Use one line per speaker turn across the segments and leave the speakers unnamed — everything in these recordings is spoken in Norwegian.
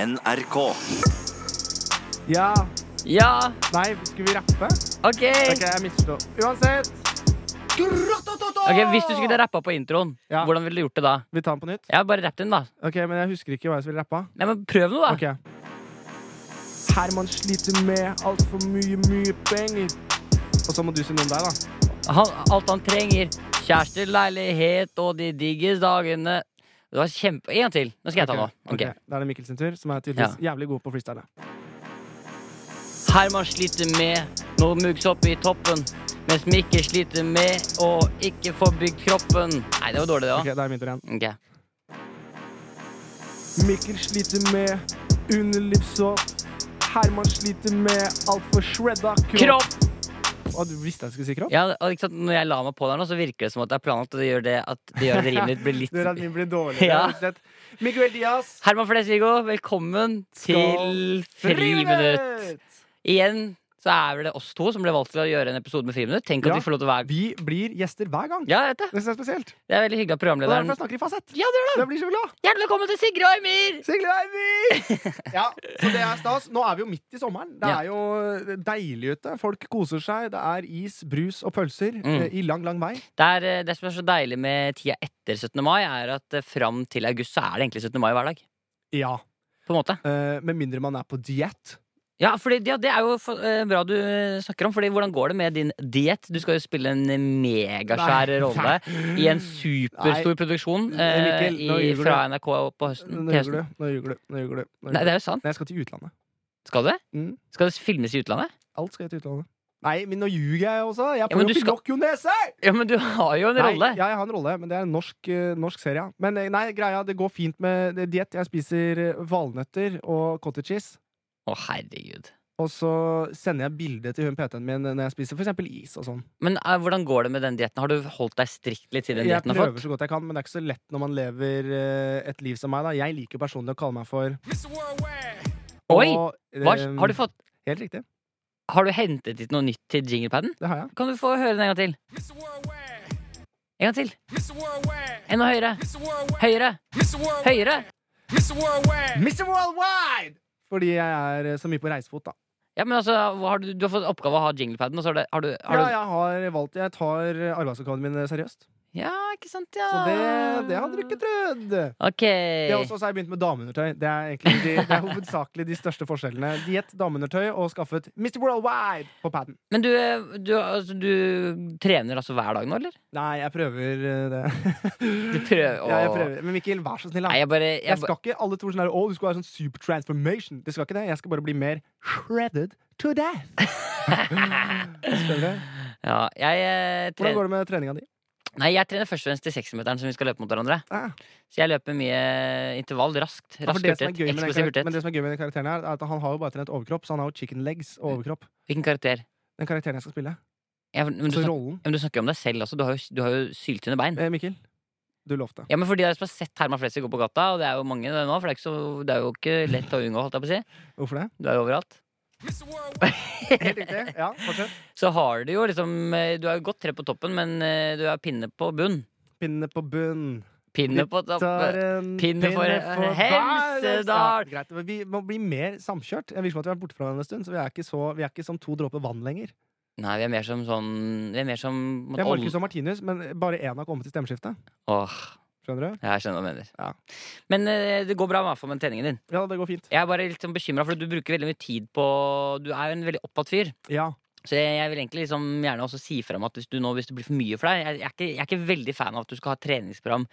NRK.
Ja.
Ja,
Nei, skulle vi rappe?
OK.
Ok, jeg misforsto. Uansett.
Ok, Hvis du skulle rappa på introen,
Ja.
hvordan ville du gjort det da?
Vi tar den på nytt.
Jeg har bare rappet den, da.
Ok, Men jeg husker ikke hva jeg skulle rappe.
Nei, men Prøv noe, da.
Ok. Herman sliter med altfor mye, mye penger. Og så må du si noen der, da.
Han, alt han trenger. Kjæreste, leilighet og de diggeste dagene. Det var kjempe... En gang til. Nå skal jeg ta
Ok,
noe. Ok.
ok. Da er det Mikkel sin tur, som er tydeligvis jævlig god på freestyle.
Herman sliter med noe muggs opp i toppen. Mens Mikkel sliter med å ikke få bygd kroppen. Nei, det var dårlig,
Ok,
det òg.
da er min tur igjen.
Ok.
Mikkel sliter med underlivssår. Herman sliter med altfor shredda kropp.
Kropp!
Å, du visste jeg skulle si kropp?
Ja, og ikke sant, når jeg la meg på der nå, så virker det som at det er planlagt, og det gjør det at det gjør at rimet ditt blir
Det gjør at
litt
min blir dårligere.
Ja.
rett og slett. Miguel Diaz.
Herman Flesvig-Viggo, velkommen til Friminutt. Igjen så er vel det oss to som ble valgt til å gjøre en episode med Friminutt. Tenk at
Ja.
vi får lov til å være
Vi blir gjester hver gang.
Ja, jeg vet det.
Det synes jeg er spesielt.
Det er veldig hyggelig at
Og derfor
programlederen
jeg snakker i fasett.
Ja, det er det!
Jeg blir så glad.
Hjertelig velkommen til Sigrid og Emil!
Sigle Eivi! Ja, så det er stas. Nå er vi jo midt i sommeren. Det
Ja.
er jo deilig ute. Folk koser seg. Det er is, brus og pølser
Mm.
eh, i lang, lang vei.
Det, er, eh, det som er så deilig med tida etter 17. mai, er at eh, fram til august så er det egentlig 17. mai hver dag.
Ja.
På en måte.
eh, Med mindre man er på diett.
Ja, fordi, ja, det er jo for, eh, bra du eh, snakker om, Fordi hvordan går det med din diett? Du skal jo spille en eh, megaskjær
Nei.
rolle i en superstor produksjon eh,
Mikkel, nå
i,
ljuger du.
fra NRK på høsten.
Nå
til
ljuger du.
høsten.
Nå ljuger du. Nå ljuger du. Nå
Nei,
ljuger du.
det er jo sant.
Nei, jeg skal til utlandet.
Skal du det?
Mm.
Skal det filmes i utlandet?
Alt skal jeg til utlandet. Nei, men nå ljuger jeg også. Jeg er
Ja,
på
men
jo
du skal-
Pinocchio-nese!
Ja, men du har jo en rolle.
Nei, ja, jeg har en rolle, men det er en norsk, eh, norsk serie. ja. Men eh, nei, greia, det går fint med det- diett. Jeg spiser eh, valnøtter og cottage cheese.
Å, herregud.
Og så sender jeg bilde til hun PT-en min når jeg spiser for eksempel is og sånn.
Men eh, hvordan går det med den dietten? Har du holdt deg strikt litt til den
Jeg
dietten? du har
prøver
fått?
så godt jeg kan, men det er ikke så lett når man lever eh, et liv som meg. da Jeg liker personlig å kalle meg for
Oi!
og, eh,
Hva, har, du fått,
Helt riktig.
har du hentet ut noe nytt til jinglepaden?
Det har jeg.
Kan du få høre den en gang til? En gang til. Enda høyere. Høyere. Høyere.
Mr. Worldwide! Fordi jeg er eh, så mye på reisefot, da.
Ja, men altså, hva har du, du har fått oppgave å ha jinglepaden, og så har, det, har du har
Ja,
du,
jeg har valgt Jeg tar eh, arbeidsoppgavene mine seriøst.
ja, ikke sant, ja.
Så det, det hadde du ikke trodd.
Ok.
Det er også, så har jeg begynt med dameundertøy. Det er, egentlig, de, det er hovedsakelig de største forskjellene. Diett, dameundertøy og skaffet Mr. Worldwide på paden.
Men du, eh, du, altså, du trener altså hver dag nå, eller?
Nei, jeg prøver eh, det.
Du prøver å
Ja, jeg prøver. Men Mikkel, vær så snill.
Nei,
Da.
jeg bare
Jeg
jeg, ba-
skal ikke alle tror sånn her, å, du skal være sånn super transformation. Det skal ikke det. Jeg skal bare bli mer shredded to death. Skjønner du?
ja, jeg, eh,
Hvordan
trener,
går det med treninga di?
nei, jeg trener først og fremst til 60-meteren som vi skal løpe mot hverandre.
Ah,
Så jeg løper mye eh, intervall raskt.
ja, for
Rask
det som er
hurtighet.
gøy med den karakter-
Eksplosiv
Men
hurtighet.
det som er gøy med den karakteren, her, er at han har jo bare trent overkropp, så han har jo chicken legs og overkropp.
Hvilken karakter?
Den karakteren jeg skal spille.
Ja, men, du
Så
snak,
rollen.
ja, men du snakker om deg selv også. Du har jo, du har jo syltynne bein.
Eh, Mikkel, du lovte.
Ja, men for de av dere som har sett Herman Flesvig gå på gata, og det er jo mange det nå, for det er, ikke så, det er jo ikke lett å unngå, holdt jeg på å si.
Hvorfor det?
Du er jo overalt.
Helt riktig. Ja, fortsett.
Så har du jo liksom eh, Du er jo godt tre på toppen, men eh, du er pinne på bunn.
Pinne på bunn.
Pinne på toppen.
Gittaren,
Pinne for Hemsedal.
Ja, greit. Men Vi må bli mer samkjørt. Jeg virker som at vi har vært borte fra hverandre en stund, så vi er ikke, så, vi er ikke som to dråper vann lenger.
Nei, vi er mer som sånn Vi er mer som
Det er Marcus og Martinus, men bare én har kommet til stemmeskiftet.
Åh,
Skjønner du?
jeg skjønner hva du mener.
Ja.
Men eh, det går bra i hvert fall med treningen din.
Ja, det går fint.
Jeg er bare litt sånn bekymra, for du bruker veldig mye tid på Du er jo en veldig opptatt fyr.
Ja.
Så jeg, jeg vil egentlig liksom gjerne også si frem at hvis, du nå, hvis det blir for mye for deg jeg, jeg, er ikke, jeg er ikke veldig fan av at du skal ha treningsprogram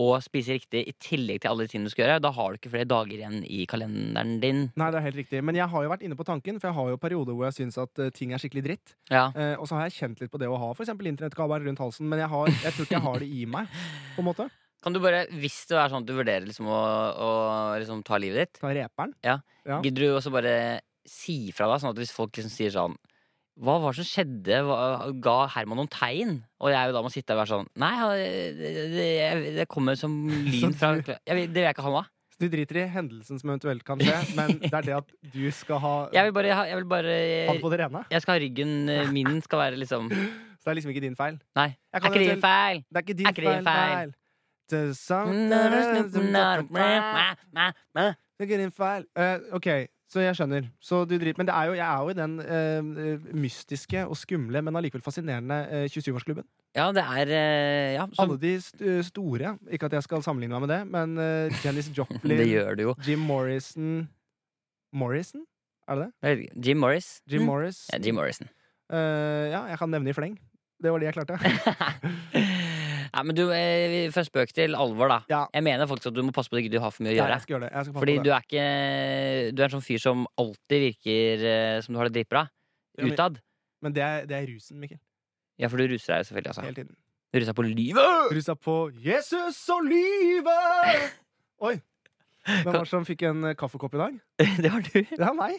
og spise riktig i tillegg til alle de tingene du skal gjøre. Da har du ikke flere dager igjen i kalenderen din.
Nei, det er helt riktig. Men jeg har jo vært inne på tanken, for jeg har jo perioder hvor jeg syns at eh, ting er skikkelig dritt.
Ja.
Eh, og så har jeg kjent litt på det å ha for eksempel internettkabel rundt halsen, men jeg, har, jeg tror ikke jeg har det i meg. På en måte.
Kan du bare, Hvis det er sånn at du vurderer liksom å, å liksom ta livet ditt,
Ta reperen. Ja.
gidder du også bare si fra deg, sånn at hvis folk liksom sier sånn hva var det som skjedde? Hva, ga Herman noen tegn? Og jeg jo da må sitte her og være sånn Nei, han- det, det, det kommer som lyn
Så
fra
du-
jeg, vil- Det vil jeg ikke ha noe av.
Så du driter i hendelsen som eventuelt kan skje, men det er det at du skal ha,
Jeg vil bare, ha- jeg vil bare
ha det på det rene.
Jeg skal ha ryggen eh, Min skal være liksom
Så det er liksom ikke din feil.
Nei.
Jeg
Er
kan
ikke det
eventuelt-
feil? Mm,
Det er ikke
Er
din
ikke det
feil.
feil? mm,
feil. Det er sant.
Mæ, mæ, mæ, mæ.
Det går inn feil. Eh, ok, så jeg skjønner. Så du driter- Men det er jo, jeg er jo i den eh, mystiske og skumle, men allikevel fascinerende eh, 27-årsklubben.
Ja, det er eh, Ja, så
Alle de st eh, store. Ikke at jeg skal sammenligne meg med det, men eh, Janis
Det
Joplin,
gjør du jo.
Jim Morrison Morrison? Er det det?
Jeg vet ikke. Jim Morris.
Jim
Mm.
Morris.
Ja, Jim Morrison.
Eh, ja, jeg kan nevne i fleng. Det var det jeg klarte.
Nei, men du, eh, fra spøk til alvor, da.
Ja.
Jeg mener faktisk at du må passe på at du ikke har for mye å
Ja,
gjøre.
jeg skal gjøre det. Jeg skal passe
Fordi
på
du
det.
er ikke Du er en sånn fyr som alltid virker eh, som du har det dritbra.
Ja, men-
Utad.
Men det er, det er rusen, Mikkel.
Ja, for du ruser deg jo selvfølgelig, altså.
Hele tiden.
Du ruser deg på livet!
Rusa på Jesus og livet! Oi. Hvem var det som fikk en eh, kaffekopp i dag?
det var du.
Det er meg.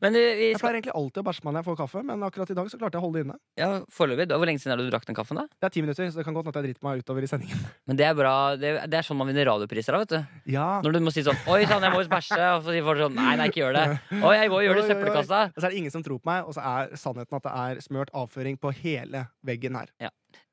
Men du, vi
Jeg
skal
pleier egentlig alltid å bæsje meg når jeg får kaffe, men akkurat i dag så klarte jeg å holde det inne.
Ja, foreløpig. Da, Hvor lenge siden er det du drakk den kaffen, da?
Det er ti minutter, så det kan godt hende at jeg driter meg utover i sendingen.
Men det er bra. Det, det er sånn man vinner radiopriser av, vet du.
Ja.
Når du må si sånn Oi sann, jeg må jo bæsje. Og så sier folk sånn Nei, nei, ikke gjør det. Oi, jeg må gjøre
Oi, oi,
det i
oi.
søppelkassa.
Og så er det ingen som tror på meg, og så er sannheten at det er smørt avføring på hele veggen her.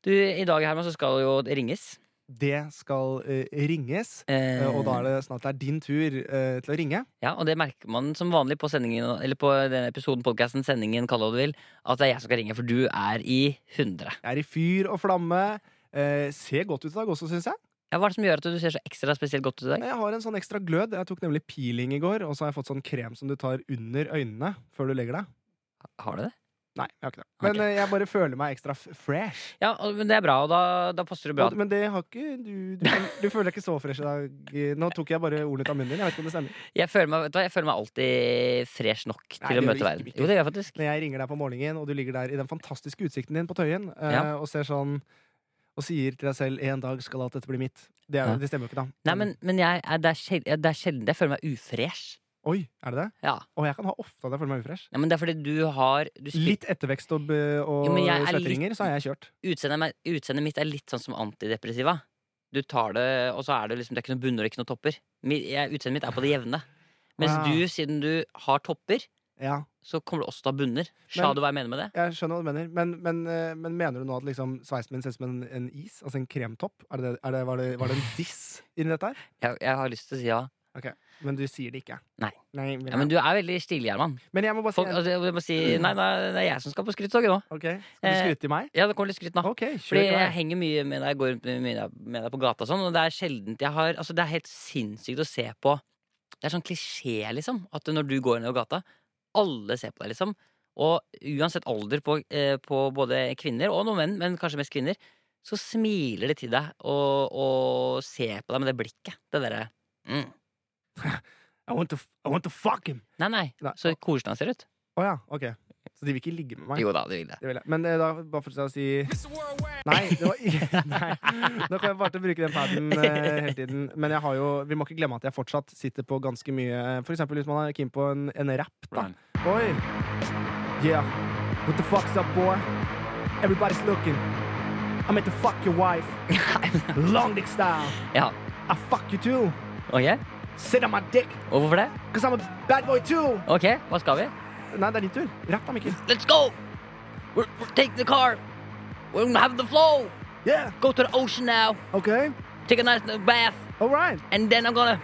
Du, i dag, Herman, så skal jo det ringes.
Det skal eh, ringes,
Eh,
eh, og da er det snart det er din tur eh, til å ringe.
Ja, og det merker man som vanlig på sendingen Eller på denne episoden, podcasten, sendingen, kall det hva du vil At det er jeg som skal ringe, for du er i 100
Jeg er i fyr og flamme. Eh, ser godt ut i dag også, syns jeg.
ja, Hva er det som gjør at du ser så ekstra spesielt godt ut i dag?
Men Jeg har en sånn ekstra glød. Jeg tok nemlig peeling i går, og så har jeg fått sånn krem som du tar under øynene før du legger deg.
Har du det?
Nei, jeg har ikke det. Men
Ok.
eh, jeg bare føler meg ekstra f fresh.
Ja, og- men det er bra, og da, da passer du bra
Og- Men det har ikke du Du, kan- du føler deg ikke så fresh i dag. Nå tok jeg bare ordene ut av munnen din. Jeg vet ikke om det stemmer.
Jeg føler meg, vet du hva, jeg føler meg alltid fresh nok
Nei, det
til å
gjør du
møte
ikke,
verden
Mikkel.
Jo, det gjør jeg faktisk
Når jeg ringer deg på morgenen, og du ligger der i den fantastiske utsikten din på Tøyen, eh,
Ja.
og ser sånn og sier til deg selv 'en dag skal alt dette bli mitt'. Det, er,
Ja.
det stemmer jo ikke, da.
Nei, men, men jeg, er, det, er sjelden, det er sjelden jeg føler meg ufresh
Oi, er det det?
Ja,
Og jeg kan ha ofte at jeg føler meg ufresh.
Nei, men det er fordi du har du spil-
Litt ettervekst og, b- og
Jo, men jeg er
svetteringer, så er jeg kjørt.
utseendet, meg- utseendet mitt er litt sånn som antidepressiva. Du tar det, og så er det liksom Det er ikke noen bunner og ikke noen topper. Mi- jeg- Utseendet mitt er på det jevne. Mens
Ah.
du, siden du har topper,
Ja,
så kommer du også til å ha bunner. Sa
Men-
du hva jeg mener med det?
jeg skjønner hva du mener. Men, men, eh, men mener du nå at liksom sveisen min ser ut som en, en is? Altså en kremtopp? Er det, det- er det, var, det, var det en diss inni dette her?
Jeg, jeg har lyst til å si ja.
Men du sier det ikke.
Nei.
men,
ja men du er veldig stilig, Herman.
men jeg må bare si
Folk, altså, jeg må si nei, nei, det er jeg som skal på skryttoget nå.
Ok, Skal du
Eh,
skryte i meg?
Ja, det kommer litt skryt nå.
Ok, kjør
Fordi
i
jeg
vei.
henger mye med deg, jeg går rundt med- med deg- med deg på gata og sånn, og det er sjeldent jeg har Altså, det er helt sinnssykt å se på Det er sånn klisjé, liksom, at når du går nedover gata, alle ser på deg, liksom. Og uansett alder på, eh, på både kvinner og noen menn, men kanskje mest kvinner, så smiler de til deg og, og ser på deg med det blikket. Det derre mm.
I want, to, I want to fuck him!
Nei, nei.
Nei,
Så koselig han ser ut.
Å ja, ok. Så de vil ikke ligge med meg?
Jo da, det vil det.
Det vil jeg. Men eh, da bare fortsetter jeg å si Nei, det var ikke Nei. Nå kan jeg bare til å bruke den paden eh, hele tiden. Men jeg har jo, vi må ikke glemme at jeg fortsatt sitter på ganske mye eh, For eksempel hvis man er keen på en, en rap, da. Oi! Yeah. What the fuck's up, boy? Everybody's looking. I'm meant to fuck your wife. Long dick style.
Ja.
I fuck you too.
Ok,
Sit on my dick,
Og hvorfor det?
cause I'm a bad boy too.
Ok, hva skal vi?
Nei, det er din tur. Rapp da, Mikkel.
Let's go! We're, we're taking the car. We're gonna have the flow.
Yeah.
Go to the ocean now.
Okay.
Take a nice little bath,
All right.
and then I'm gonna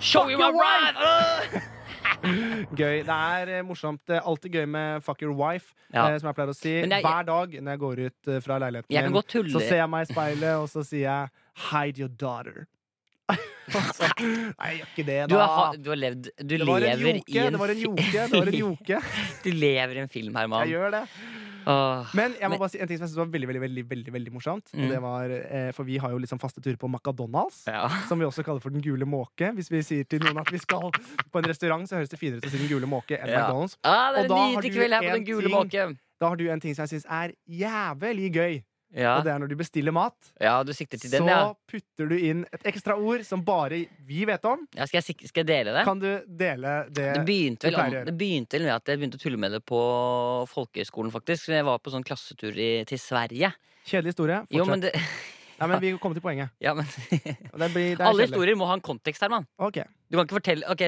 show you my
your
ride.
wife.
Uh!
Gøy. Det er eh, morsomt. Det er alltid gøy med fuck your wife,
Ja.
eh, som jeg pleier å si.
Men jeg-
Hver dag når jeg går ut eh, fra leiligheten
Jeg kan godt tulle.
så ser jeg meg i speilet, og så sier jeg 'hide your daughter'. Altså, Nei, jeg gjør ikke det, da.
Du har, ha- du har levd
Ah.
Du
det var en
lever
joke,
i en,
det var en
fi-
joke. Det var en joke.
Du lever i en film, Herman.
Jeg gjør det.
Åh.
Men jeg må
Men-
bare si en ting som jeg synes var veldig veldig, veldig, veldig, veldig morsomt.
Mm.
Og det var, eh, For vi har jo liksom faste turer på Macadonalds.
Ja.
Som vi også kaller for Den gule måke. Hvis vi sier til noen at vi skal på en restaurant, så høres det finere ut å si Den gule måke enn
Ja.
McDonald's.
Ah,
Og
det er
da
en
har
nydelig
du
kveld her på
en
Den gule
ting-
måke.
Da har du en ting som jeg syns er jævlig gøy.
Ja.
Og det er når du bestiller mat,
ja, du sikter til
så
den, ja.
putter du inn et ekstra ord som bare vi vet om.
ja skal, jeg, sik- skal jeg dele det?
Kan du dele det?
Det begynte,
det
vel,
pleier jeg å gjøre.
an- det begynte vel med at jeg begynte å tulle med det på folkehøyskolen, faktisk. Jeg var på sånn klassetur i, til Sverige.
Kjedelig historie. Fortsett.
Jo, men det,
Nei, men vi kommer til poenget.
ja, men,
Det blir, det er
Alle
kjedelig.
historier må ha en kontekst, Herman.
Ok.
Du kan ikke fortelle Ok,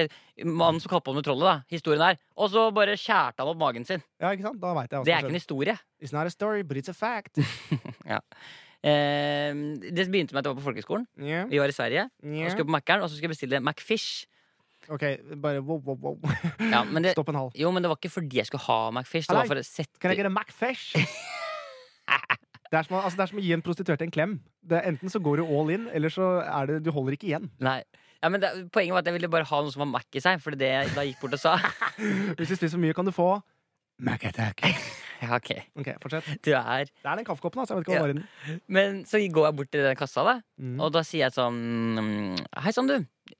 Mannen som kappa med trollet, da. Historien der. Og så bare skjærte han opp magen sin.
Ja, ikke sant? Da vet jeg hva
Det er
som
ikke en
skjer.
historie.
It's not a story, but it's a fact.
Ja. Eh, det begynte med at jeg var på folkehøgskolen.
Yeah,
Vi var i Sverige. Og
yeah.
skulle på Mækkern, og så skulle jeg bestille McFish.
Ok, bare wow, wow, wow.
Ja, men det,
Stopp en halv.
jo, men det var ikke fordi jeg skulle ha McFish. Det var
Nei.
for å sette
Kan jeg get a Macfish? Det er, som, å- altså, det er som å gi en prostituert en klem. Det er, enten så går du all in, eller så er det, du holder ikke igjen.
Nei. Ja, men det, poenget var at jeg ville bare ha noe som var Mac i seg. For det jeg da gikk bort og sa
Hvis du spiser for mye, kan du få Mac attack.
Ja, ok,
Ok, fortsett.
du er
Det er den kaffekoppen, altså. Jeg vet ikke hva det var i den.
Men så går jeg bort til den kassa, da.
Mm.
Og da sier jeg sånn mm, Hei sann, du.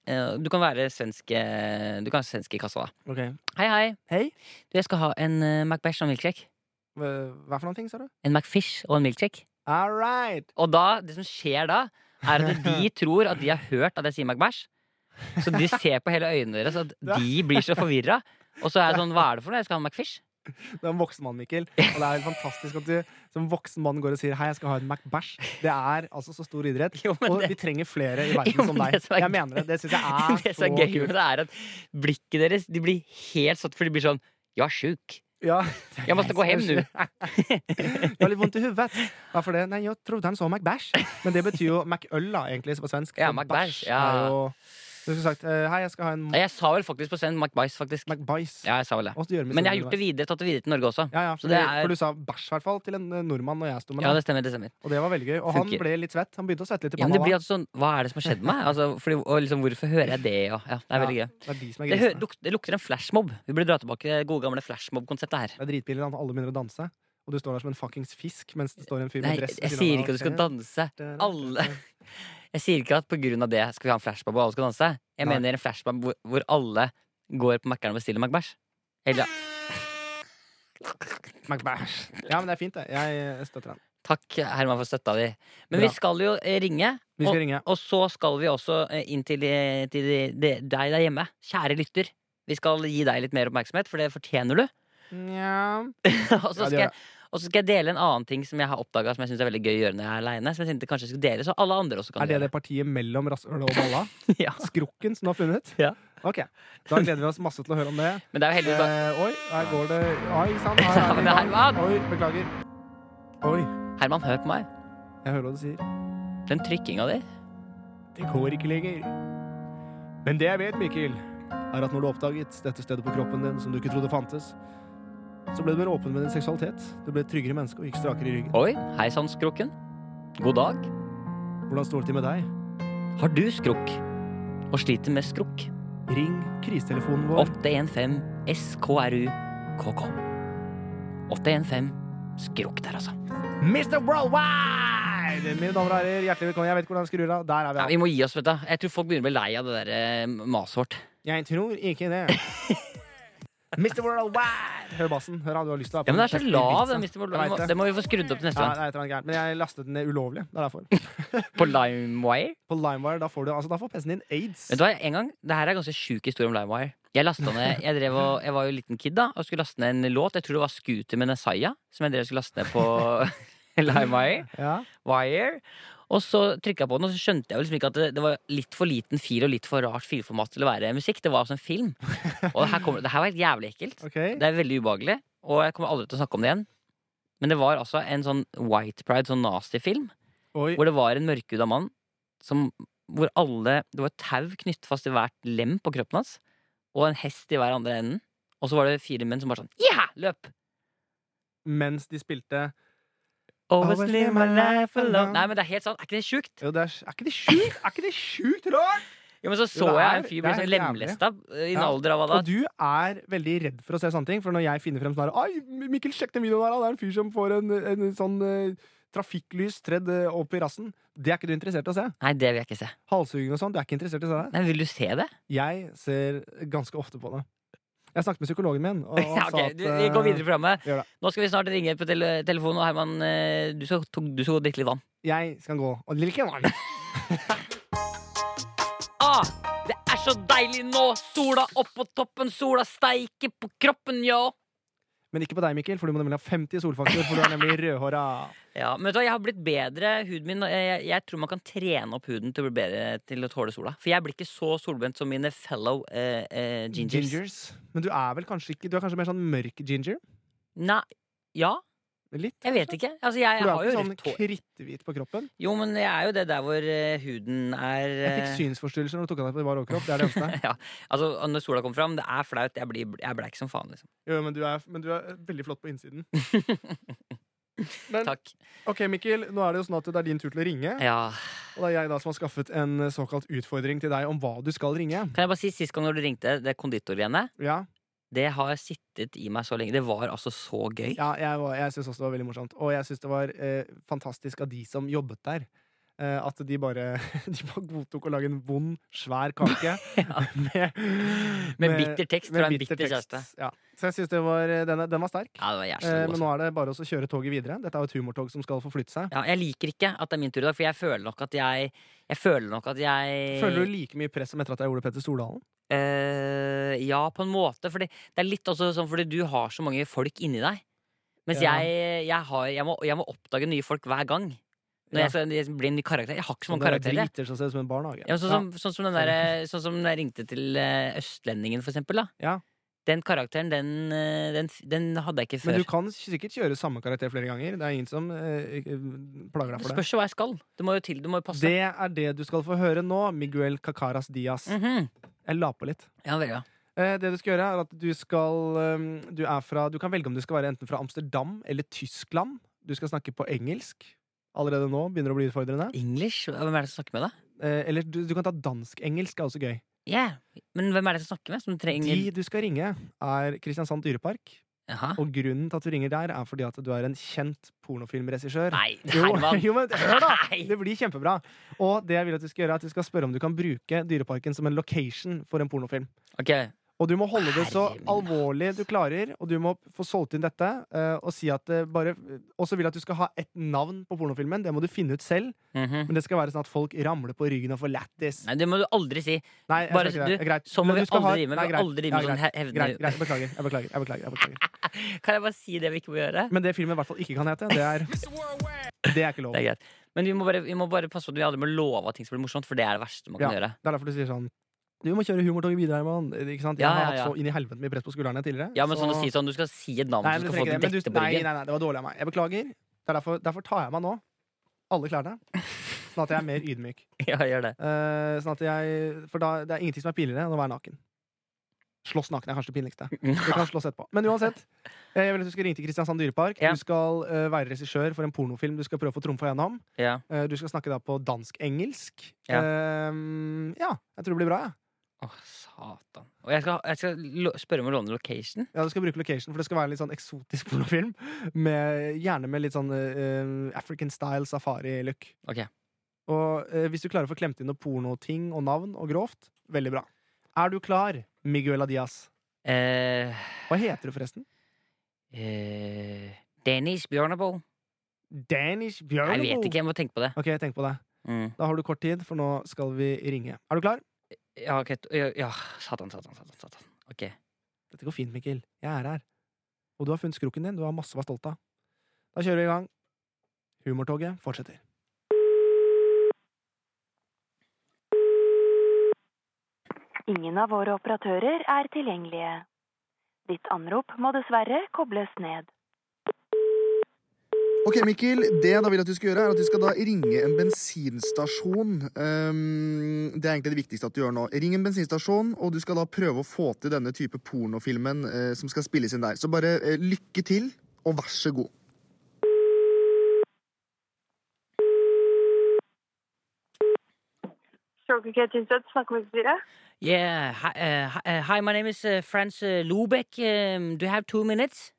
Eh, Du kan være svensk eh, Du kan være svensk i kassa, da.
Ok.
Hei, hei.
Hei.
Du, jeg skal ha en eh, McBash og en milkshake.
Hva hva for noen ting, sa du?
En McFish og en milkshake.
All right.
Og da, det som skjer da, er at de tror at de har hørt at jeg sier McBæsj. Så de ser på hele øynene deres at de blir så forvirra. Og så er jeg sånn, hva er det for noe? Jeg skal ha en McFish.
Du er en voksen mann, Mikkel. Og det er helt fantastisk at du som voksen mann går og sier 'hei, jeg skal ha en McBæsj'. Det er altså så stor idrett.
Jo, men
Og
det-
vi trenger flere i
Jo,
verden som
men
deg.
det som er
Jeg
gøy-
mener det. Det syns jeg er,
Det som
så
er gøy med
kult.
det, er at blikket deres de blir helt satt, for de blir sånn Jeg er sjuk.
Ja.
Jeg måtte gå hjem nå.
Jeg har litt vondt i huvudet. Hvorfor det? Nei, jeg trodde han sa McBæsj. Men det betyr jo McØl, da, egentlig, på svensk.
Ja,
Og
McBæsj,
bæsj
ja.
er jo Du skulle sagt eh, 'hei, jeg skal ha en
Nei, Jeg sa vel faktisk på scenen McBice, faktisk.
McBice'.
Ja, jeg sa vel det.
Og så gjør vi
Men jeg
sånn
har gjort det videre, tatt det videre til Norge også.
Ja, ja, for,
Så det
du-
er-
for du sa bæsj, i hvert fall, til en eh, nordmann når jeg sto med
Ja,
den.
det stemmer. det stemmer
Og det var veldig gøy. Og han
Funker.
ble litt svett. Han begynte å svette litt i
Ja, men
panna.
det blir altså sånn, Hva er det som har skjedd med meg? Altså, fordi, og liksom, hvorfor hører jeg det? Og, ja, det er veldig gøy.
da. det er de som er
Det, hø
grisene.
luk det lukter en flashmob. Vi burde dra tilbake til det gode gamle flashmob-konseptet her.
Det er dritbillig, da. Alle begynner å danse. Og du står der som en fuckings fisk mens det står en fyr
Nei,
med dress.
jeg sier ikke at du skal danse. Alle Jeg sier ikke at på grunn av det skal vi ha en flashmob og alle skal danse. Jeg
Nei.
mener en flashmob hvor, hvor alle går på Mækkern og bestiller McBæsj. Eller
McBash. Ja, men det er fint, det. Jeg eh, støtter den.
Takk, Herman, for støtta di. Men
Bra.
vi skal jo eh, ringe,
Vi skal ringe.
og så skal vi også eh, inn til, eh, til de, de, deg der hjemme. Kjære lytter. Vi skal gi deg litt mer oppmerksomhet, for det fortjener du.
Nja
og,
Ja, det
så skal
gjør
jeg, og så skal jeg dele en annen ting som jeg har oppdaga som jeg syns er veldig gøy å gjøre når jeg er aleine. Som jeg tenkte kanskje jeg skulle dele, så alle andre også kan
Er det
gjøre
det partiet mellom rasshølet og balla?
det. Ja.
Skrukken som du har funnet?
Ja.
Ok. Da gleder vi oss masse til å høre om det.
Men det er jo heldigvis bare
Eh, oi, her går det Oi, sant? Her er
Ja,
det
men
i gang.
Herman!
Oi, beklager. Oi,
Herman, hør på meg.
jeg hører hva du sier.
Den trykkinga di.
Det går ikke lenger. Men det jeg vet, Mikkel, er at når du oppdaget dette stedet på kroppen din som du ikke trodde fantes, så ble du mer åpen med din seksualitet. Du ble et tryggere menneske og gikk strakere i ryggen.
Oi, hei sann, skrukken. God dag.
Hvordan står det til med deg?
Har du skrukk? Og sliter med skrukk?
Ring krisetelefonen vår.
815 SKRU KK. 815 skrukk der, altså.
Mr. Worldwide! Mine damer og herrer, hjertelig velkommen. Jeg vet ikke hvordan jeg skrur av. Der er vi.
Ja, vi må gi oss, vet du. Jeg tror folk begynner å bli lei av det der eh, maset vårt.
Jeg tror ikke det. Mr. Worldwide! Hør bassen. Hør, da, du har lyst til å være
Ja, men det er så lav, den, Mr.
Jeg
Morlund.
vet det.
Det må vi få skrudd opp til neste
Ja,
gang.
det er et eller annet gærent, men jeg lastet den ned ulovlig. Det er derfor.
På LimeWire.
På LimeWire da får, du, altså, da får PC-en din aids.
Vet du hva, en gang, Det her er en ganske sjuk historie om LimeWire. Jeg lasta ned, jeg, drev og, jeg var jo liten kid da og skulle laste ned en låt. Jeg tror det var Scooter med Nesaya som jeg drev og skulle laste ned på LimeWire.
Ja.
Wire. Og så trykka jeg på den, og så skjønte jeg jo liksom ikke at det, det var litt for liten fil og litt for rart filformat til å være musikk. Det var altså en film. Og det her, kommer- det her var helt jævlig ekkelt.
Ok.
Det er veldig ubehagelig, og jeg kommer aldri til å snakke om det igjen. Men det var altså en sånn White Pride, sånn nazifilm,
Oi.
hvor det var en mørkhuda mann som Hvor alle Det var et tau knyttet fast i hvert lem på kroppen hans, og en hest i hver andre enden. Og så var det fire menn som bare sånn Ja! Løp!
Mens de spilte
Always live my life alone. Nei, men det er helt sant. Er ikke det sjukt?
Jo, det er, er ikke det sjukt? Er ikke det sjukt rart?
Ja, men så så
det
jeg
er-
en fyr
det
bli
er
sånn
helt
lemlesta eh, i en
Ja.
alder av hva da?
Og du er veldig redd for å se sånne ting, for når jeg finner frem sånn her Oi, Mikkel, sjekk den videoen der, da. Det er en fyr som får en, en sånn eh, trafikklys tredd eh, opp i rassen. Det er ikke du interessert i å se.
Nei, det vil jeg ikke se.
Halshugging og sånn, du er ikke interessert i å se det.
Nei, Vil du se det?
Jeg ser ganske ofte på det. Jeg snakket med psykologen min. Og sa
Ja, ok,
at, eh,
du, Vi går videre i programmet.
gjør det.
Nå skal vi snart ringe på tele telefonen, og Herman, eh, du skal, to- du skal gå og drikke litt vann.
eh, Jeg skal gå og like vann.
Ah, det er så deilig nå! Sola opp på toppen, sola steiker på kroppen, ja!
Men ikke på deg, Mikkel, for du må nemlig ha 50 solfaktor, for du er nemlig rødhåra.
Ja, men vet du hva, Jeg har blitt bedre huden min. Jeg, jeg, jeg tror man kan trene opp huden til å bli bedre til å tåle sola. For jeg blir ikke så solbrent som mine fellow eh, eh, gingers.
Gingers. Men du er vel kanskje ikke Du er kanskje mer sånn mørk ginger?
Nei, ja.
Litt?
Jeg vet ikke. Altså, jeg,
For du
har
er
jo
ikke sånn
rødt hår.
kritthvit på kroppen?
Jo, men jeg er jo det der hvor eh, huden er
Jeg fikk
eh,
synsforstyrrelser når du tok av deg på bar overkropp. Det er det eneste.
ja, altså Når sola kommer fram, det er flaut. Jeg blir, jeg er bleik som faen, liksom.
Jo, men du, er, men du er veldig flott på innsiden. Men
Takk.
ok, Mikkel, nå er det jo sånn at det er din tur til å ringe.
Ja.
Og det er jeg da som har skaffet en såkalt utfordring til deg om hva du skal ringe.
Kan jeg bare si sist gang når du ringte, det konditorgreiene,
Ja,
det har sittet i meg så lenge. Det var altså så gøy.
ja jeg, var- jeg syns også det var veldig morsomt. Og jeg syns det var eh, fantastisk av de som jobbet der. eh, at de bare, de bare godtok å lage en vond, svær kake med,
Med bitter tekst fra en bitter
tekst.
kjæreste.
Ja. Så jeg syns det var eh, den, den var sterk.
Ja, det var jævlig
Eh,
god,
men
altså.
nå er det bare å kjøre toget videre. Dette er jo et humortog som skal forflytte seg.
ja, jeg liker ikke at det er min tur i dag, for jeg føler nok at jeg Jeg føler nok at jeg
Føler du like mye press som etter at jeg gjorde Petter Stordalen?
Eh, ja, på en måte. Fordi det er litt også sånn fordi du har så mange folk inni deg. Mens
Ja.
jeg, jeg, har, jeg, må, jeg må oppdage nye folk hver gang. Når
Ja.
jeg, skal, jeg blir en ny karakter. Jeg har ikke så mange
Sånne
karakterer. jeg.
Driter som ser ut som en barnehage.
Ja, men sånn, som, sånn, som den der, sånn som jeg ringte til eh, Østlendingen, for eksempel. Da.
Ja.
Den karakteren, den, eh, den, den hadde jeg ikke
Men
før.
du kan sikkert kjøre samme karakter flere ganger. Det er ingen som eh, plager deg
Det
for det.
spørs jo hva jeg skal. Du må jo til, du må jo passe.
Det er det du skal få høre nå, Miguel Cacaras Diaz.
Mhm.
Jeg la på litt.
Ja, veldig bra.
Eh, det du skal gjøre, er at du skal eh, Du er fra Du kan velge om du skal være enten fra Amsterdam eller Tyskland. Du skal snakke på engelsk. Allerede nå begynner det å bli utfordrende.
English? Hvem er det som snakker med deg?
Eh, eller du, du kan ta dansk-engelsk. er også gøy.
Yeah. Men hvem er det som snakker med? Som trenger
De du skal ringe, er Kristiansand Dyrepark.
Jaha.
Og grunnen til at du ringer der, er fordi at du er en kjent pornofilmregissør.
Nei,
Jo,
Herman!
jo, men hør da!
Nei.
Det blir kjempebra. Og det jeg vil at du skal gjøre, er at du skal spørre om du kan bruke Dyreparken som en location for en pornofilm.
Ok.
Og du må holde det så
Herre min
alvorlig du klarer, og du må få solgt inn dette. eh, Og si at det bare eh, Og så vil jeg at du skal ha et navn på pornofilmen. Det må du finne ut selv,
Mhm.
men det skal være sånn at folk ramler på ryggen og får lættis.
Nei, det må du aldri si.
Nei, jeg
Bare
skal ikke
du-
det. Det er Greit.
Sånn må
Men
vi
du skal ha-
aldri drive med.
Nei,
Vi må
greit.
aldri
Ja,
drive med sånn
greit.
he- hevnende
Greit, greit. Jeg beklager. Jeg beklager, jeg beklager, jeg beklager.
Kan jeg bare si det vi ikke må gjøre?
Men det filmen i hvert fall ikke kan hete, det er Det er ikke lov.
Det er greit. Men vi må bare, vi må bare passe på at vi aldri må love at ting skal bli morsomt, for det er det verste man kan
Ja.
gjøre.
Det er derfor du sier sånn Du må kjøre humortoget videre, Herman. Ikke sant? Jeg
Ja,
har
ja,
hatt
ja.
så inn i helvete mye press på skuldrene tidligere.
Ja, men sånn å si sånn, Du skal si et navn,
nei,
du
men du
skal
trenger det.
få det
Men
dekket
du,
på
nei,
ryggen.
nei, nei, det var dårlig av meg. Jeg beklager. Det er derfor, derfor tar jeg meg nå. Alle klærne. Sånn at jeg er mer ydmyk.
Ja, gjør det.
Eh, sånn at jeg, for da, det er ingenting som er pinligere enn å være naken. Slåss naken er kanskje det pinligste. Vi kan slåss etterpå. Men uansett, eh, jeg vil at du skal ringe til Kristiansand Dyrepark.
Ja.
Du skal eh, være regissør for en pornofilm du skal prøve å få trumfa gjennom.
Ja.
Eh, du skal snakke da på dansk-engelsk.
Ja.
Eh, ja, jeg tror det blir bra, jeg.
Å, satan. Og jeg skal, jeg skal lo- spørre om å låne location.
Ja, du skal bruke location, for det skal være en litt sånn eksotisk pornofilm. Med, gjerne med litt sånn eh, African style safari-look.
Ok.
Og eh, hvis du klarer å få klemt inn noe pornoting og navn og grovt, veldig bra. Er du klar, Miguel Adias?
Eh,
Hva heter du forresten?
eh, Dennis Bjørneboe.
Danish
Jeg
Bjørneboe?
vet ikke, jeg må tenke på det.
Ok, tenk på det.
Mm.
Da har du kort tid, for nå skal vi ringe. Er du klar?
Ja, ok, t- ja, ja, satan, satan, satan. satan. Ok.
Dette går fint, Mikkel. Jeg er her. Og du har funnet skrukken din. Du har masse å være stolt av. Da kjører vi i gang. Humortoget fortsetter.
Ingen av våre operatører er tilgjengelige. Ditt anrop må dessverre kobles ned.
Ok, Mikkel. Det jeg da vil at du skal gjøre, er at du skal da ringe en bensinstasjon. Ehm, det er egentlig det viktigste at du gjør nå. Ring en bensinstasjon, og du skal da prøve å få til denne type pornofilmen eh, som skal spilles inn der. Så bare eh, lykke til, og vær så god.
Shortcut Instead, snakker med styret.
Yeah, hi, uh, hi- uh, hi, my name is uh, Franz uh, Lubeck. Um, do you have two minutes?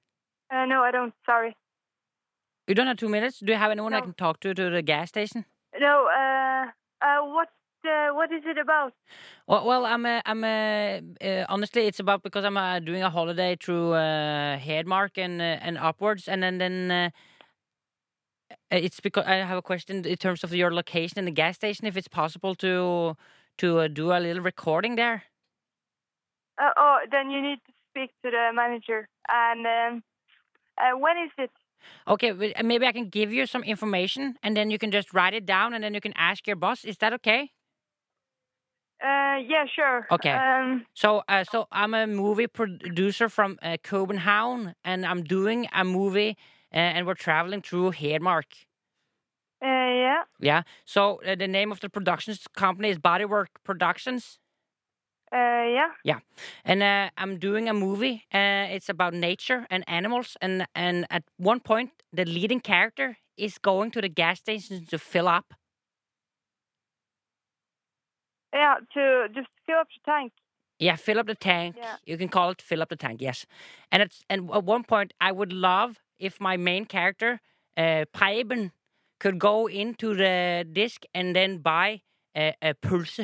Uh, no, I don't. Sorry.
You don't have two minutes? Do you have anyone I
No.
can talk to to the gas station?
No. Uh, uh, what? Uh, what is it about?
Well, well I'm, uh, I'm uh, uh, honestly, it's about because I'm uh, doing a holiday through uh, Hedmark and uh, and upwards, and then then uh, it's because I have a question in terms of your location in the gas station. If it's possible to to uh, do a little recording there.
Uh, oh, then you need to speak to the manager. And um, uh, when is it?
Okay, well, uh, maybe I can give you some information, and then you can just write it down, and then you can ask your boss. Is that okay?
Uh, yeah, sure.
Okay.
Um,
So, uh, so I'm a movie producer from uh, Copenhagen, and I'm doing a movie eh, and we're traveling through Hedmark.
Uh, yeah.
Yeah. So eh, the name of the productions company is Bodywork Productions,
Uh, yeah.
and uh, I'm doing a movie. Uh, it's about nature and animals, and and at one point, the leading character is going to the gas station to fill up.
Yeah. To just fill up the tank.
Yeah, fill up the tank.
Yeah.
You can call it fill up the tank. Yes, and it's and at one point I would love if my main character, uh, Preben, could go into the disc and then buy a, a pulse,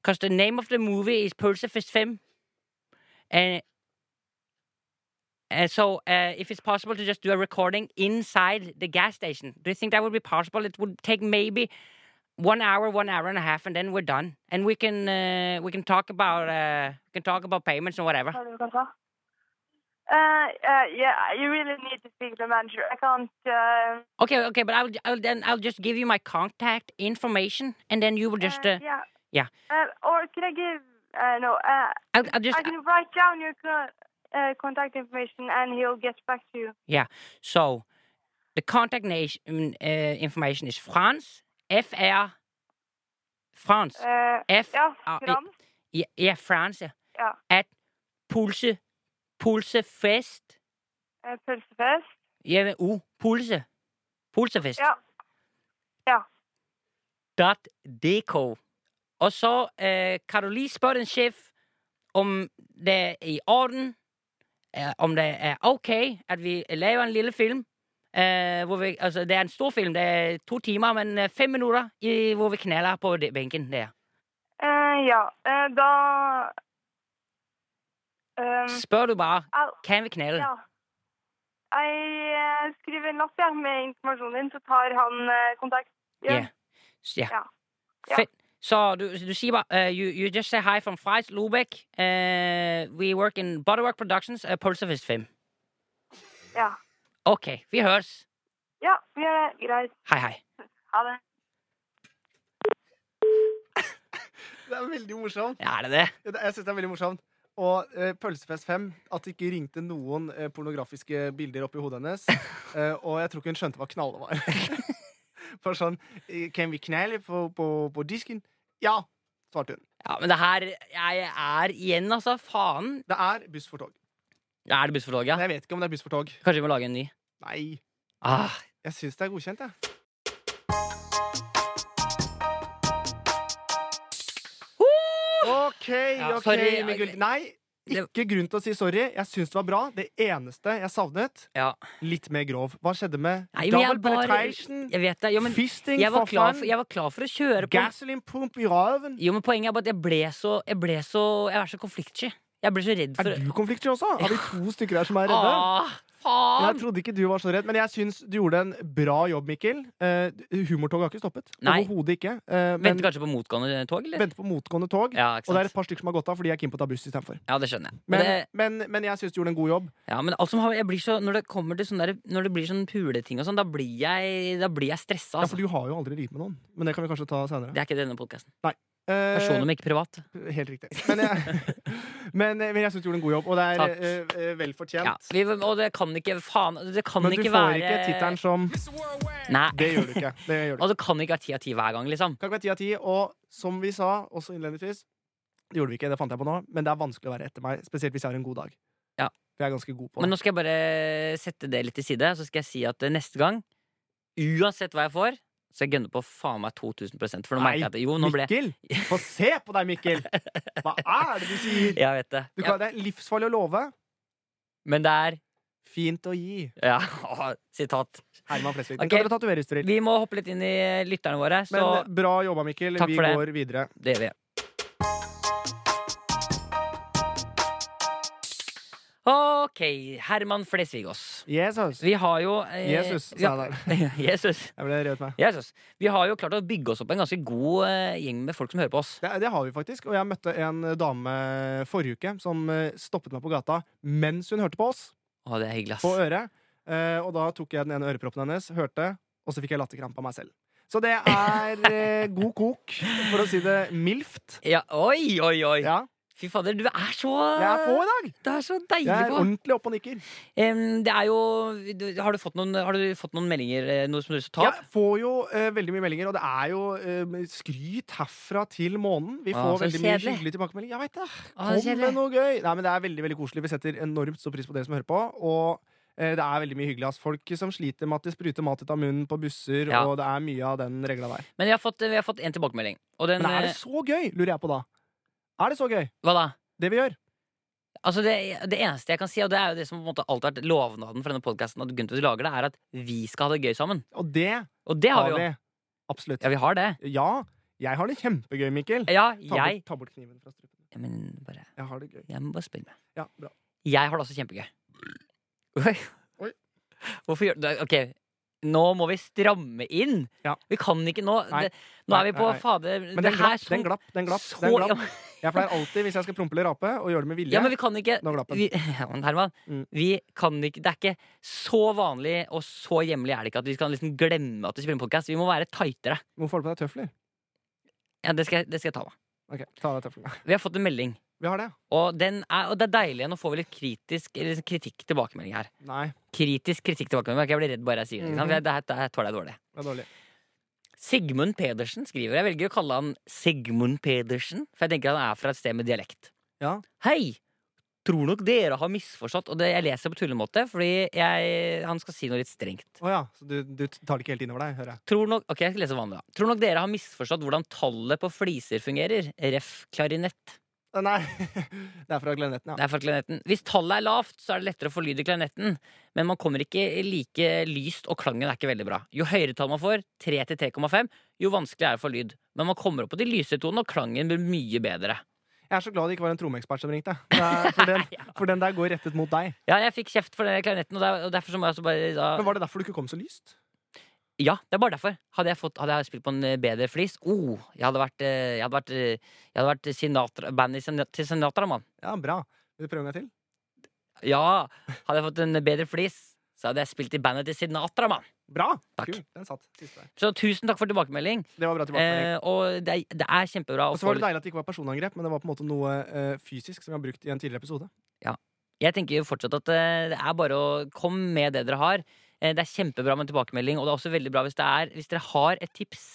because the name of the movie is Pulsefest Fem, and. And so, uh, if it's possible to just do a recording inside the gas station, do you think that would be possible? It would take maybe one hour, one hour and a half, and then we're done. And we can uh, we can talk about uh, we can talk about payments and whatever.
Hva du kan ta. Uh, uh, yeah, you really need to speak to the manager. I can't. Uh,
Okay, okay, but I'll, I'll then I'll just give you my contact information, and then you will just
uh,
uh,
yeah.
yeah.
Uh, or can I give? Uh, no. Uh,
I'll, I'll just
I can write down your co- uh, contact information and he'll get back to you.
so the contact nation uh, information is France F R France
Uh,
F
yeah,
Ah, i-
Frans.
yeah, yeah France
Ja.
at Pulse Pulsefest
Uh, Pølsefest.
yeah med o Pulse Pulsefest
Ja.
dot dk. Og så eh, kan du lige spørre din sjef om det er i orden, eh, om det er ok at vi laver en lille film. Eh, hvor vi, altså, det er en stor film, det er to timer, men eh, fem minutter i, hvor vi kneler på de- benken der.
Uh, ja, uh, da um,
Spør du bare,
Au.
kan vi knele?
Ja. Jeg eh, skriver en lapp ja, med informasjonen din, så tar han eh, kontakt. Ja.
Ja. S- ja.
Ja. Ja.
Fedt. Så du, du sier bare eh, you, you just say hi from Fries, Lubeck. Eh, we work in Bodywork Productions, uh, Pulsefest 5.
Ja.
Ok, vi høres.
ja, vi gjør det. Greit.
Hei, hei.
Ha det.
Det er veldig morsomt.
Ja, er det det?
Ja, det- Jeg synes det er veldig morsomt. Og eh, Pølsefest 5, at det ikke ringte noen eh, pornografiske bilder opp i hodet hennes. Eh, og jeg tror ikke hun skjønte hva knallet var. For sånn eh, Kan vi knalle på, på, på disken? Ja, svarte hun.
Ja, men det her Jeg er igjen, altså. Faen.
Det er buss for tog.
Ja, er det buss for tog, ja?
Men jeg vet ikke om det er buss for tog.
Kanskje vi må lage en ny?
Nei,
Ah,
jeg syns det er godkjent, jeg. OK,
Ja,
OK,
sorry.
Miguel. Nei,
Det-
ikke grunn til å si sorry. Jeg syns det var bra. Det eneste jeg savnet,
ja.
litt mer grov. Hva skjedde med
Nei, men
double
jeg bare
penetration?
Jeg vet det. Jo, men
fisting
jeg var,
for
klar
faen,
for, jeg var klar for å kjøre på.
Gasoline pump i røven.
Jo, men Poenget er bare at jeg ble så Jeg ble så Jeg var så konfliktsky. Jeg ble så redd
Er
for
du konfliktsky også? Har vi to stykker her som er redde?
Ah,
Jeg
faen!
trodde ikke du var så redd, men jeg syns du gjorde en bra jobb, Mikkel. Eh, humortoget har ikke stoppet.
Nei.
Overhodet ikke. Eh, men
Venter kanskje på motgående tog, eller?
venter på motgående tog.
Ja,
Og
ikke
det er et
sant?
par stykker som har gått av fordi jeg er keen på å ta buss istedenfor.
Ja, det skjønner jeg. Men,
Men,
det,
men, men jeg syns du gjorde en god jobb.
ja, men alt som har, jeg blir så, når det kommer til sånne der, Når det blir sånn puleting og sånn, da blir jeg, da blir jeg stressa.
Ja, for
Altså.
du har jo aldri ligget med noen. Men det kan vi kanskje ta seinere.
Det er ikke denne podkasten.
Eh,
Personnummer ikke privat.
helt riktig. Men jeg, men, eh, men jeg syns du gjorde en god jobb, og det er
Takk.
eh, eh, vel fortjent.
Ja, vi, og det kan ikke Faen, det kan
Men du
ikke
får
være
ikke tittelen som
Nei.
Det gjør du ikke. Det gjør du ikke.
Og det kan ikke være ti av ti hver gang, liksom.
Kan ikke være ti av ti. Og som vi sa også innledningsvis, det gjorde vi ikke, det fant jeg på nå, men det er vanskelig å være etter meg. Spesielt hvis jeg har en god dag.
Ja.
For jeg er ganske god på
Men
det.
nå skal jeg bare sette det litt til side, så skal jeg si at eh, neste gang, uansett hva jeg får, så jeg gønner på faen meg 2000 For nå
Nei,
merker jeg at jo, nå ble
Mikkel! Få se på deg, Mikkel! Hva er det du sier?
Jeg vet det.
Du
Ja,
kan, det er livsfarlig å love.
men det er
Fint å gi.
Ja, sitat.
Herman Flesvig. Den
Ok.
kan dere tatovere, Sturil.
Vi må hoppe litt inn i eh, lytterne våre, så
Men eh, bra jobba, Mikkel.
Takk
Vi
for det.
går videre.
det gjør vi. Ok, Herman Flesvigås.
Jesus.
Vi har jo eh,
Jesus,
vi
sa jeg
har-
der.
Jesus.
Jeg ble revet med.
Jesus. Vi har jo klart å bygge oss opp en ganske god eh, gjeng med folk som hører på oss.
Det, det har vi faktisk. Og jeg møtte en dame forrige uke som eh, stoppet meg på gata mens hun hørte på oss.
Å, det er hyggelig, ass.
På øret. Eh, og da tok jeg den ene øreproppen hennes, hørte, og så fikk jeg latterkrampe av meg selv. Så det er eh, god kok, for å si det mildt.
Ja, oi, oi, oi!
Ja.
Fy fader, du er så
Jeg er på i dag!
Du er så deilig
Jeg er
på.
ordentlig oppe og nikker.
Em, det er jo du, har, du fått noen, har du fått noen meldinger? eh, Noe som du har lyst til å ta opp?
Jeg får jo eh, veldig mye meldinger, og det er jo eh, skryt herfra til månen. Vi
Ah,
får
så
veldig mye
kjedelig.
hyggelige tilbakemeldinger. Jeg vet det.
Ah, så
Kom
kjedelig.
med noe gøy! Nei, men Det er veldig veldig koselig. Vi setter enormt stor pris på dere som hører på. Og eh, det er veldig mye hyggelig. Ass. Folk som sliter med at de spruter mat ut av munnen på busser,
Ja.
og det er mye av den regla der.
Men vi har fått, eh, vi har fått en tilbakemelding. Og den,
Men er det
eh,
så gøy, lurer jeg på da? Er det så gøy,
hva da?
det vi gjør?
Altså det, det eneste jeg kan si, og det er jo det som på en måte alltid har vært lovnaden for denne podkasten, at Gunther lager det, er at vi skal ha det gøy sammen.
Og det
Og det har
har
vi jo.
vi. Absolutt.
Ja, vi har det.
Ja, jeg har det kjempegøy, Mikkel.
Ja,
Ta bort,
jeg
ta bort kniven fra strupen.
Men bare,
Jeg har det gøy.
jeg må bare spørre meg.
Ja, bra.
Jeg har det også kjempegøy. Oi.
Oi.
Hvorfor gjør du det? Ok, nå må vi stramme inn.
Ja.
Vi kan ikke nå
Nei.
det, Nå
Nei,
er vi på
nei, nei.
fader
Men
det
den
her
glapp,
som-
den glapp, den glapp.
så-
Den glapp.
ja, men-
Jeg pleier alltid, hvis jeg skal prompe eller rape, å gjøre det med vilje.
Ja, men vi kan ikke
Nå glapp den.
vi, ja, men Herman,
Mm.
vi kan ikke Det er ikke så vanlig og så hjemlig er det ikke at vi skal liksom glemme at vi spiller podkast. Vi må være tightere.
Hvorfor har du på deg tøfler?
Ja, det skal, jeg- det skal jeg ta meg.
Ok, ta av deg tøflene.
Vi har fått en melding,
Vi har det.
og, den er, og det er deilig. Nå får vi litt kritisk eller sånn kritikk tilbakemelding her.
Nei,
Kritisk kritikk tilbakemelding. Ok, Jeg blir redd bare jeg sier det. Ikke
Mhm.
sant? For jeg- Det her det her tåler jeg dårlig.
det er dårlig.
Sigmund Pedersen skriver. Jeg velger å kalle han Sigmund Pedersen, for jeg tenker han er fra et sted med dialekt.
Ja.
Hei! Tror nok dere har misforstått, og det, jeg leser på tullemåte, fordi jeg, han skal si noe litt strengt.
Å ja, så du, du tar det ikke helt innover deg, hører jeg.
Tror nok, ok, jeg skal lese vanlig da. Tror nok dere har misforstått hvordan tallet på fliser fungerer. Ref. klarinett.
Nei, det er fra klarinetten, ja.
Det er for klarinetten. Hvis tallet er lavt, så er det lettere å få lyd i klarinetten, men man kommer ikke like lyst, og klangen er ikke veldig bra. Jo høyere tall man får, 3 til 3,5, jo vanskeligere er det å få lyd. Men man kommer opp på de lyse tonene, og klangen blir mye bedre.
Jeg er så glad det ikke var en trommeekspert som ringte. Det er- For den, for den der går rettet mot deg.
Ja, jeg fikk kjeft for den klarinetten, og der- og derfor så må jeg altså bare da
Men var det derfor du ikke kom så lyst?
Ja, det er bare derfor. Hadde jeg, fått, hadde jeg spilt på en eh, bedre flis, oh, jeg hadde vært, eh, jeg hadde vært, eh, jeg hadde vært Sinatra, band i Sin- til Sinatra, mann.
Ja, bra. Vil du prøve en gang til?
Ja, hadde jeg fått en bedre flis, så hadde jeg spilt i bandet til Sinatra, mann.
Bra!
Takk.
Kul, den satt. Siste der.
Så tusen takk for tilbakemelding.
Det var bra tilbakemelding.
Eh, og det er, det er kjempebra. å
Og så var det
få-
deilig at det ikke var personangrep, men det var på en måte noe eh, fysisk som vi har brukt i en tidligere episode.
Jeg tenker jo fortsatt at eh, det er bare å komme med det dere har. Eh, Det er kjempebra med tilbakemelding, og det er også veldig bra hvis, det er, hvis dere har et tips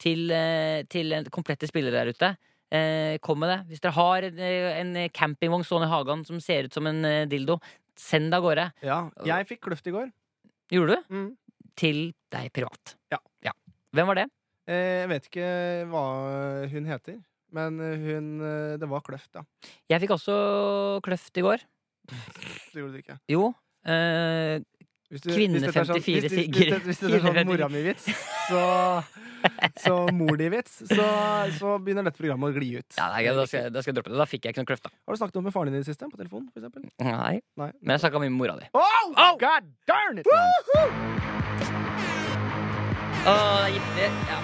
til, eh, til en- komplette spillere der ute. eh, Kom med det. Hvis dere har en, eh, en campingvogn stående i hagen som ser ut som en eh, dildo, send det av gårde.
Ja, jeg fikk kløft i går.
Gjorde du?
Mm.
Til deg privat.
Ja.
Hvem var det?
Eh, Jeg vet ikke hva hun heter, men hun eh, Det var kløft, ja.
Jeg fikk også kløft i går.
Det gjorde du ikke.
Jo. eh,
Hvis du-
Kvinne
hvis dette er sånn-
54
hvis- hvis- Hvis,
Sigrid.
det- hvis det er sånn
Kvinne-
mora mi-vits, så, så mor di-vits, så, så begynner dette programmet å gli ut.
ja, nei, da, skal, jeg- da skal jeg droppe det. Da fikk jeg ikke noen kløft, da.
Har du snakket noe med faren din i det siste? På telefon, for eksempel?
Nei.
Nei.
Men jeg snakka mye med mora di.
Oh,
Au!
God darn it!
Å, det er giftig. Ja.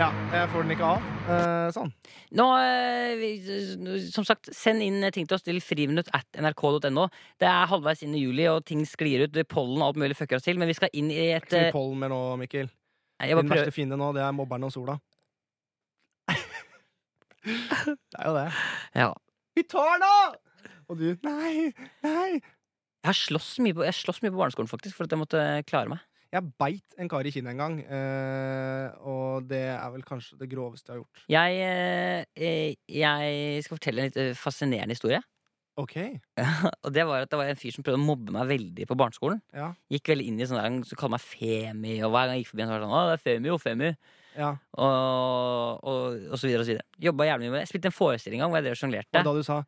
Ja, jeg får den ikke av. Eh, sånn.
Nå, eh, vi- som sagt, send inn ting til oss til friminutt at nrk.no. Det er halvveis inn i juli, og ting sklir ut. Pollen og alt mulig fucker oss til. Men vi skal inn i et
Ikke
eh,
mye pollen mer nå, Mikkel.
nei, Jeg bare
Din verste
prøver.
fiende nå, det er mobberen og sola. det er jo det.
Ja.
Vi tar det! Og du Nei, nei.
Jeg har slåss mye på, jeg slåss mye på barneskolen, faktisk, for at jeg måtte eh, klare meg.
Jeg beit en kar i kinnet en gang, eh, og det er vel kanskje det groveste jeg har gjort.
Jeg, eh, eh, jeg skal fortelle en litt eh, fascinerende historie.
Ok,
Og det var at det var en fyr som prøvde å mobbe meg veldig på barneskolen.
Ja.
Gikk veldig inn i sånn der, han kalte meg Femi, og hver gang jeg gikk forbi, han så var det sånn Å, det er Femi, jo, Femi.
ja.
og, og, og så videre og så videre. Jobba jævlig mye med det. Jeg spilte en forestilling en gang hvor jeg drev og
Og
sjonglerte.
da du sa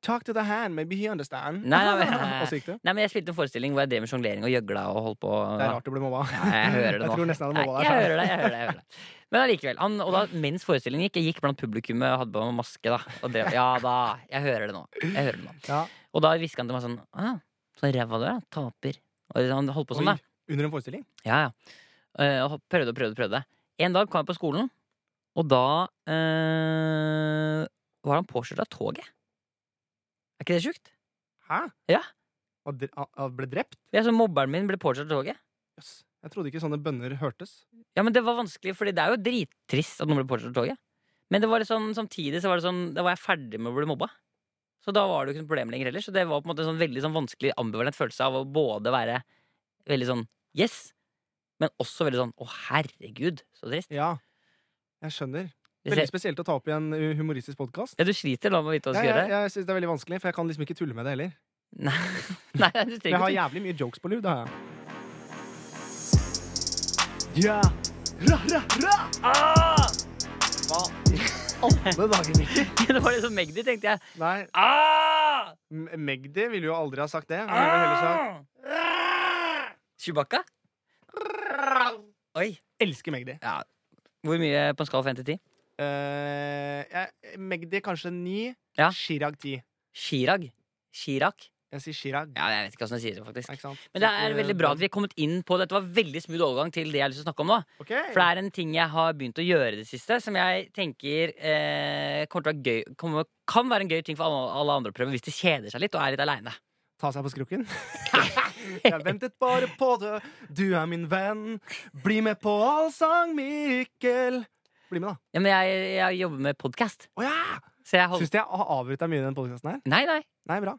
'talk to the hand, maybe he understand',
Nei, nei, nei.
og så gikk du?
Nei, men jeg spilte en forestilling hvor jeg drev med sjonglering og gjøgla og holdt på.
Det er rart du ble mobba.
Ja, jeg hører det nå.
Jeg tror nesten jeg sånn. hadde
Nei,
mobba
jeg
deg.
hører det, jeg hører det, jeg hører det. Men allikevel. Han, og da, mens forestillingen gikk, jeg gikk blant publikummet og hadde på meg maske. da og drev, Ja da, jeg hører det nå. Jeg hører det nå.
Ja.
Og da hviska han til meg sånn ah, Så ræva du er, da. taper. Og han holdt på sånn, da.
Oi, Under en forestilling?
Ja, ja. Eh, og prøvde og prøvde og prøvde. En dag kom jeg på skolen, og da eh, var han påkjørt av toget. Er ikke det sjukt?
Hæ?
Ja.
Og dre- a- a- ble drept?
Ja, så Mobberen min ble påkjørt av toget.
Jøss. Jeg trodde ikke sånne bønner hørtes.
Ja, men Det var vanskelig, Fordi det er jo drittrist at noen ble påkjørt av toget. Men det var liksom, samtidig så var det sånn, da var jeg ferdig med å bli mobba. Så da var det jo ikke noe problem lenger heller. Så det var på en måte en sånn veldig sånn vanskelig ambivalent følelse av å både være veldig sånn yes, men også veldig sånn å herregud, så trist.
Ja, jeg skjønner.
Hvis
Veldig
jeg-
spesielt å ta opp i en uh, humoristisk podkast.
Ja, du sliter da med å vite hva
Ja,
du skal
jeg
gjøre?
jeg syns det er veldig vanskelig, for jeg kan liksom ikke tulle med det heller.
Nei, Nei du
Men jeg
trenger
har
ikke
jævlig mye jokes på lur, det har jeg. Ja. Ra, ra, ra!
Ah!
Alle dager, Mikkel.
Det var liksom Magdi, tenkte jeg.
Nei,
Ah!
M- Magdi ville jo aldri ha sagt det. Han ville heller sagt
Ah! Chewbacca? Oi.
Elsker Magdi.
Ja. Hvor mye på en skala fra 1 til 10?
Eh, jeg, Magdi kanskje ni.
Ja.
Chirag ti.
Chirag? Chirac?
Jeg sier Chirag.
Ja, jeg vet ikke hvordan jeg sier det, faktisk.
Ikke sant?
Men det er veldig bra at vi er kommet inn på dette. Det var veldig smooth overgang til det jeg har lyst til å snakke om nå.
Ok.
For det er en ting jeg har begynt å gjøre i det siste, som jeg tenker eh, kommer til å være gøy, kommer, kan være en gøy ting for alle, alle andre å prøve hvis de kjeder seg litt og er litt aleine.
Ta seg på skrukken. jeg ventet bare på det, du er min venn. Bli med på allsang, Mikkel. Bli med, da.
Ja, men jeg, jeg jobber med podkast.
Å ja!
Så jeg holder
Syns du jeg har avbrutt deg mye i den podkasten her?
Nei, nei.
Nei, bra.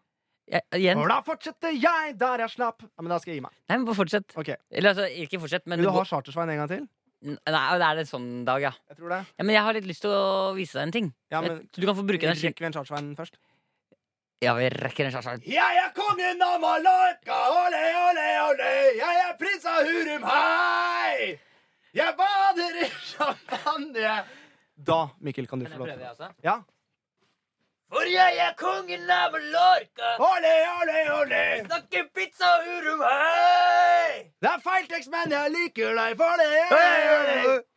Jeg, igjen.
Og da fortsetter jeg der jeg slapp. Ja, men da skal jeg gi meg.
Nei, men bare fortsett.
Ok,
Eller altså, ikke fortsett, men
Vil du
det
ha
går-
Chartersveien en gang til?
Nei, det er en sånn dag, ja.
Jeg tror det.
ja. Men jeg har litt lyst til å vise deg en ting.
Ja, men
Så du kan få bruke den skikkelig.
Rekker vi en Chartersveien først?
Ja, vi rekker en sjanse.
Jeg er kongen av Mallorca, ole, ole, ole. Jeg er prins av Hurum, hei! Jeg bader i champagne. Da, Mikkel, kan du få lov til det.
altså?
Ja.
For jeg er kongen av Mallorca!
Ole, ole, ole.
Snakker pizza og hurum, hei!
Det er feil tekst, men jeg liker deg for det.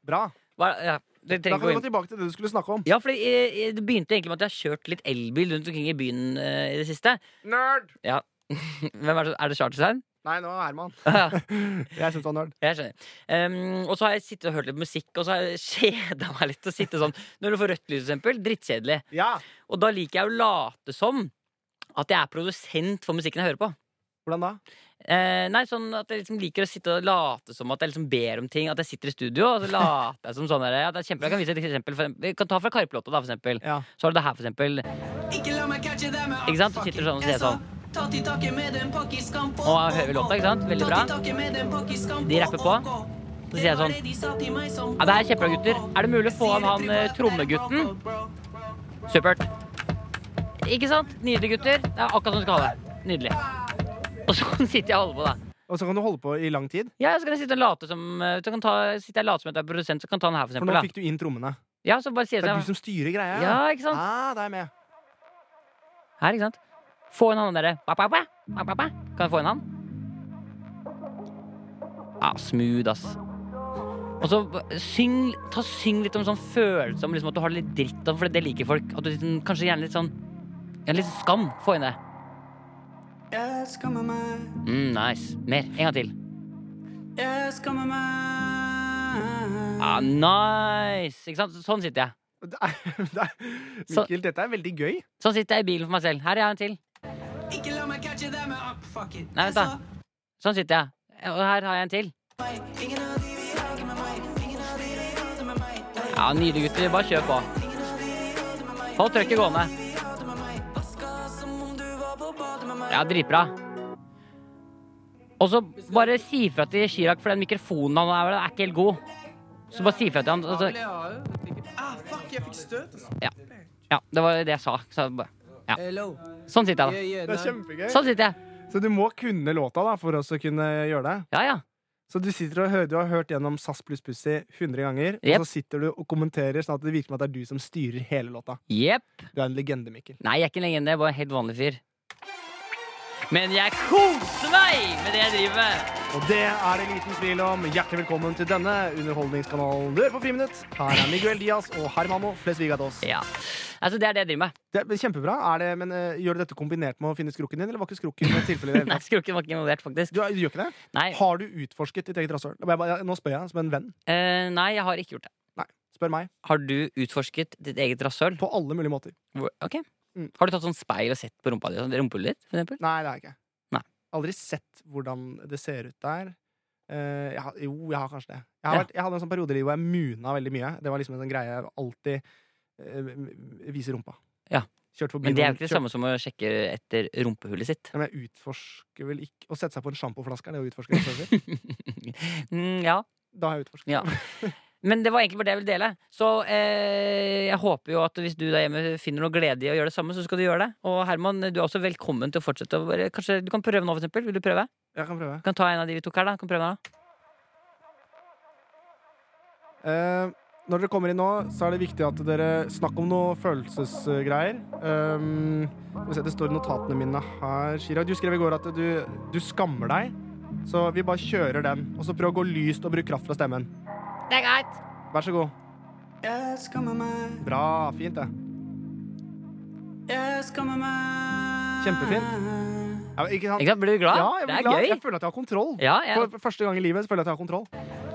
Bra.
Hva, ja, det
Da kan vi
trenger ikke
gå
gå inn.
tilbake til det du skulle snakke om.
Ja, fordi eh, eh, Det begynte egentlig med at jeg har kjørt litt elbil rundt omkring i byen eh, i det siste.
Nerd.
Hvem Er det, er det charterstein?
Nei, nå er Herman.
Ja,
Jeg syns det var nerd.
jeg skjønner. Um, og så har jeg sittet og hørt litt musikk, og så har jeg kjeda meg litt. Og sitte sånn, Når du får rødt lys, for eksempel. Drittkjedelig.
Ja.
Og da liker jeg å late som at jeg er produsent for musikken jeg hører på.
Hvordan da?
Eh, nei, sånn at jeg liksom liker å sitte og late som at jeg liksom ber om ting. At jeg sitter i studio og så later jeg som sånn. der, Ja, det er kjempe, jeg kan vise et eksempel. For, vi kan ta fra Karpelåta, da, for eksempel.
Ja.
Så har du det her, for eksempel. Ikke sant? Du sitter sånn og sier sånn.
Og her hører vi låta, ikke sant? Veldig bra. De rapper på. Så sier jeg sånn Ja, det er kjempebra, gutter. Er det mulig å få av han eh, trommegutten?
Supert. Ikke sant? Nydelig, gutter. Det er akkurat som du skal ha det. Nydelig. Og så sitter jeg og holder på, da.
Og så kan du holde på i lang tid.
Ja, så kan jeg sitte og late som eh, så kan ta, sitter jeg og late som at jeg er produsent, så kan jeg ta den her, for
For nå
eksempel. Da.
fikk du inn trommene.
Ja, så bare sier
Det er
jeg
du
sånn
som styrer greia.
Ja, ikke sant?
Ah, det er jeg med.
Her, ikke sant? Få en annen derre. Ba, ba, ba. Ba, ba, ba. Kan jeg få en annen? Ja, smooth, ass. Og så b- syng, ta, syng litt om sånn følelse om liksom at du har det litt dritt om, for det liker folk. At du liksom, kanskje gjerne litt sånn ja, Litt skam. Få inn det.
Jeg skammer meg,
Mm, nice. Mer. En gang til.
jeg skammer meg.
Ja, nice. Ikke sant? Sånn sitter jeg.
Det er, det er,
Så-
Mikkel, dette er veldig gøy.
Sånn sitter jeg i bilen for meg selv. Her er jeg en til.
Ikke la meg catche deg med up, fuck it.
Nei, vent da. Sånn sitter jeg. Og her har jeg en til.
Ingen av de vil hage med meg, ingen av de vil hage med meg. Nei,
Ja, Nydelig, gutter. Bare kjør på. Hold trøkket gående.
hage med meg. Vaska som om du var på badet med meg.
Ja, dritbra. Og så bare si fra til Chirag, for den mikrofonen han har, er ikke helt god. Så bare si fra til han. Altså,
Ah, fuck, jeg fikk støt. altså.
ja, det var det jeg sa. Så, bare- ja.
Hello.
Sånn sitter
Yeah,
jeg,
yeah,
Det er
no.
da.
kjempegøy.
Sånn sitter jeg.
Så du må kunne låta da, for også å kunne gjøre det.
Ja, ja.
Så du sitter og hører, du har hørt gjennom SAS pluss Pussy 100 ganger,
Jep.
og så sitter du og kommenterer sånn at det virker som at det er du som styrer hele låta.
Jepp.
Du er en legende, Mikkel.
Nei, jeg er ikke en legende. Jeg er bare en helt vanlig fyr. Men jeg koser meg med det jeg driver med.
Og det er det liten tvil om. Hjertelig velkommen til denne underholdningskanalen du hører på Friminutt. Her er Miguel Diaz og Hermano Flesvigados.
Ja. Altså, det er det jeg driver med.
Det er kjempebra. Er det, men eh, gjør du dette kombinert med å finne skrukken din, eller var ikke skrukken et tilfelle i det hele
Nei,
tatt?
Skrukken var ikke involvert, faktisk.
Du, er- du gjør ikke det?
Nei,
Har du utforsket ditt eget rasshøl? Jeg bare- jeg- Nå spør jeg som en venn.
eh, nei, jeg har ikke gjort det.
Spør meg.
Har du utforsket ditt eget rasshøl?
På alle mulige måter.
Hvor- Ok.
Mm.
Har du tatt sånn speil og sett på rumpa di? Sånn, rumpehullet ditt, for eksempel?
Nei, det har jeg ikke.
Nei.
Aldri sett hvordan det ser ut der. Eh, jeg, har- jo, jeg har kanskje det. Jeg, har
Ja.
vært, jeg hadde en sånn periode i livet hvor jeg muna veldig mye. Det var liksom en sånn greie jeg alltid eh, vise rumpa.
Ja.
Kjørt forbi
Men det er jo
noen-
ikke det
kjørt-
samme som å sjekke etter rumpehullet sitt.
Ja, men jeg utforsker vel ikke Å sette seg på en sjampoflaske, er det å utforske? reserver?
Mm, ja.
Da har jeg utforsket.
Ja. Men det var egentlig bare det jeg ville dele. Så eh, jeg håper jo at hvis du der hjemme finner noe glede i å gjøre det samme, så skal du gjøre det. Og Herman, du er også velkommen til å fortsette å være Kanskje du kan prøve nå, for eksempel. Vil du prøve?
Jeg kan prøve.
Du kan ta en av de vi tok her, da. Du Kan prøve den, da.
Eh, når dere kommer inn nå, så er det viktig at dere snakker om noe følelsesgreier. Um, skal vi se, det står i notatene mine her. Chirag, du skrev i går at du, du skammer deg. Så vi bare kjører den. Og så prøv å gå lyst og bruke kraft fra stemmen.
Det er greit.
Vær så god.
Jeg skammer meg,
Bra. Fint, det.
jeg skammer meg.
Kjempefint. Ja, ikke sant?
Ikke sant? Blir du glad?
Ja, jeg blir
det er
glad.
gøy.
Jeg føler at jeg har kontroll.
Ja, jeg-
For første gang i livet så føler jeg at jeg har kontroll.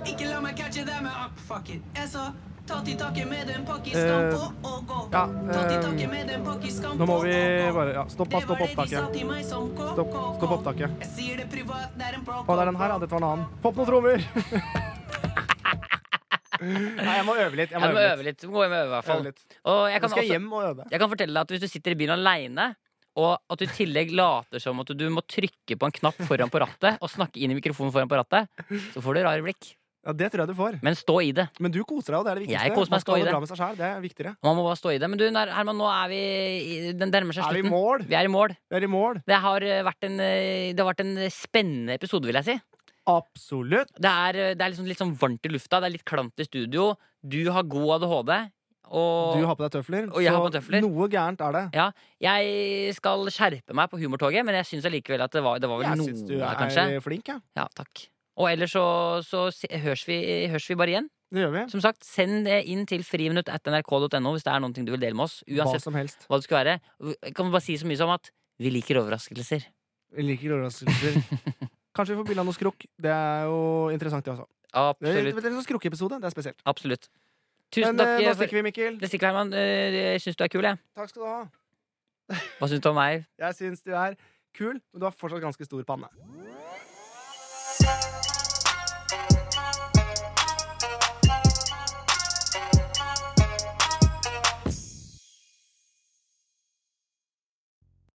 Ikke la meg catche deg med up, fuck it. Jeg sa ta til taket med den
Eh,
pakkiskan på og gå.
ja,
Ta til
eh,
taket med den pakkiskan
Nå må
på
vi
og gå.
bare ja, stopp,
Det
stopp
var det de sa
opptaket.
til meg som ko-
Stopp,
ko-
stopp
ko.
opptaket.
Jeg sier det privat, det er en pro-
Å, det er den her, ja. Dette var en annen. Få på noen trommer! Nei, jeg må øve litt. Jeg må
Jeg må
øve litt.
øve litt. Du må øve, i hvert fall.
Øve litt.
Og jeg
Nå
kan,
skal jeg
også,
hjem og øve.
jeg kan fortelle deg at hvis du sitter i bilen aleine, og at du i tillegg later som at du må trykke på en knapp foran på rattet og snakke inn i mikrofonen foran på rattet, så får du rare blikk.
Ja, Det tror jeg du får.
Men stå i det.
Men du koser deg, og det er det viktigste.
Jeg koser meg,
Man skal
stå i
ha det
det.
bra med seg selv, det er viktigere.
Man må bare stå i det. Men du, Nar- Herman, nå er vi i- Den nærmer seg
Er vi i
slutten.
mål?
Vi er i mål.
Vi er i mål.
Det har eh, vært en, eh, det har vært en spennende episode, vil jeg si.
Absolutt.
Det er, eh, det er liksom litt sånn varmt i lufta, det er litt klamt i studio. Du har god ADHD. Og
Du har på deg tøfler,
Og jeg har på tøfler.
noe gærent er det.
ja, jeg skal skjerpe meg på humortoget, men jeg syns allikevel at det var, det var vel
Jeg
noe
syns du
der,
er
kanskje.
flink, jeg.
Ja, takk. Og ellers så, så se- høres, vi, høres vi bare igjen.
Det gjør vi.
Som sagt, send eh, inn til friminutt.nrk.no hvis det er noe du vil dele med oss.
Hva
Uansett
som helst.
hva det skulle være. Jeg Kan bare si så mye som at vi liker overraskelser.
Vi liker overraskelser. Kanskje vi får bilde av noe skrukk. Det er jo interessant, det også. Det er,
Absolutt.
det er en sånn skrukkepisode. Det er spesielt.
Absolutt. Tusen
Men eh, nå
takk. eh, for...
stikker vi, Mikkel.
Det stikker, Herman. Eh, Jeg syns du er kul, jeg.
Takk skal du ha.
Hva syns du om meg?
Jeg syns du er kul, men du har fortsatt ganske stor panne.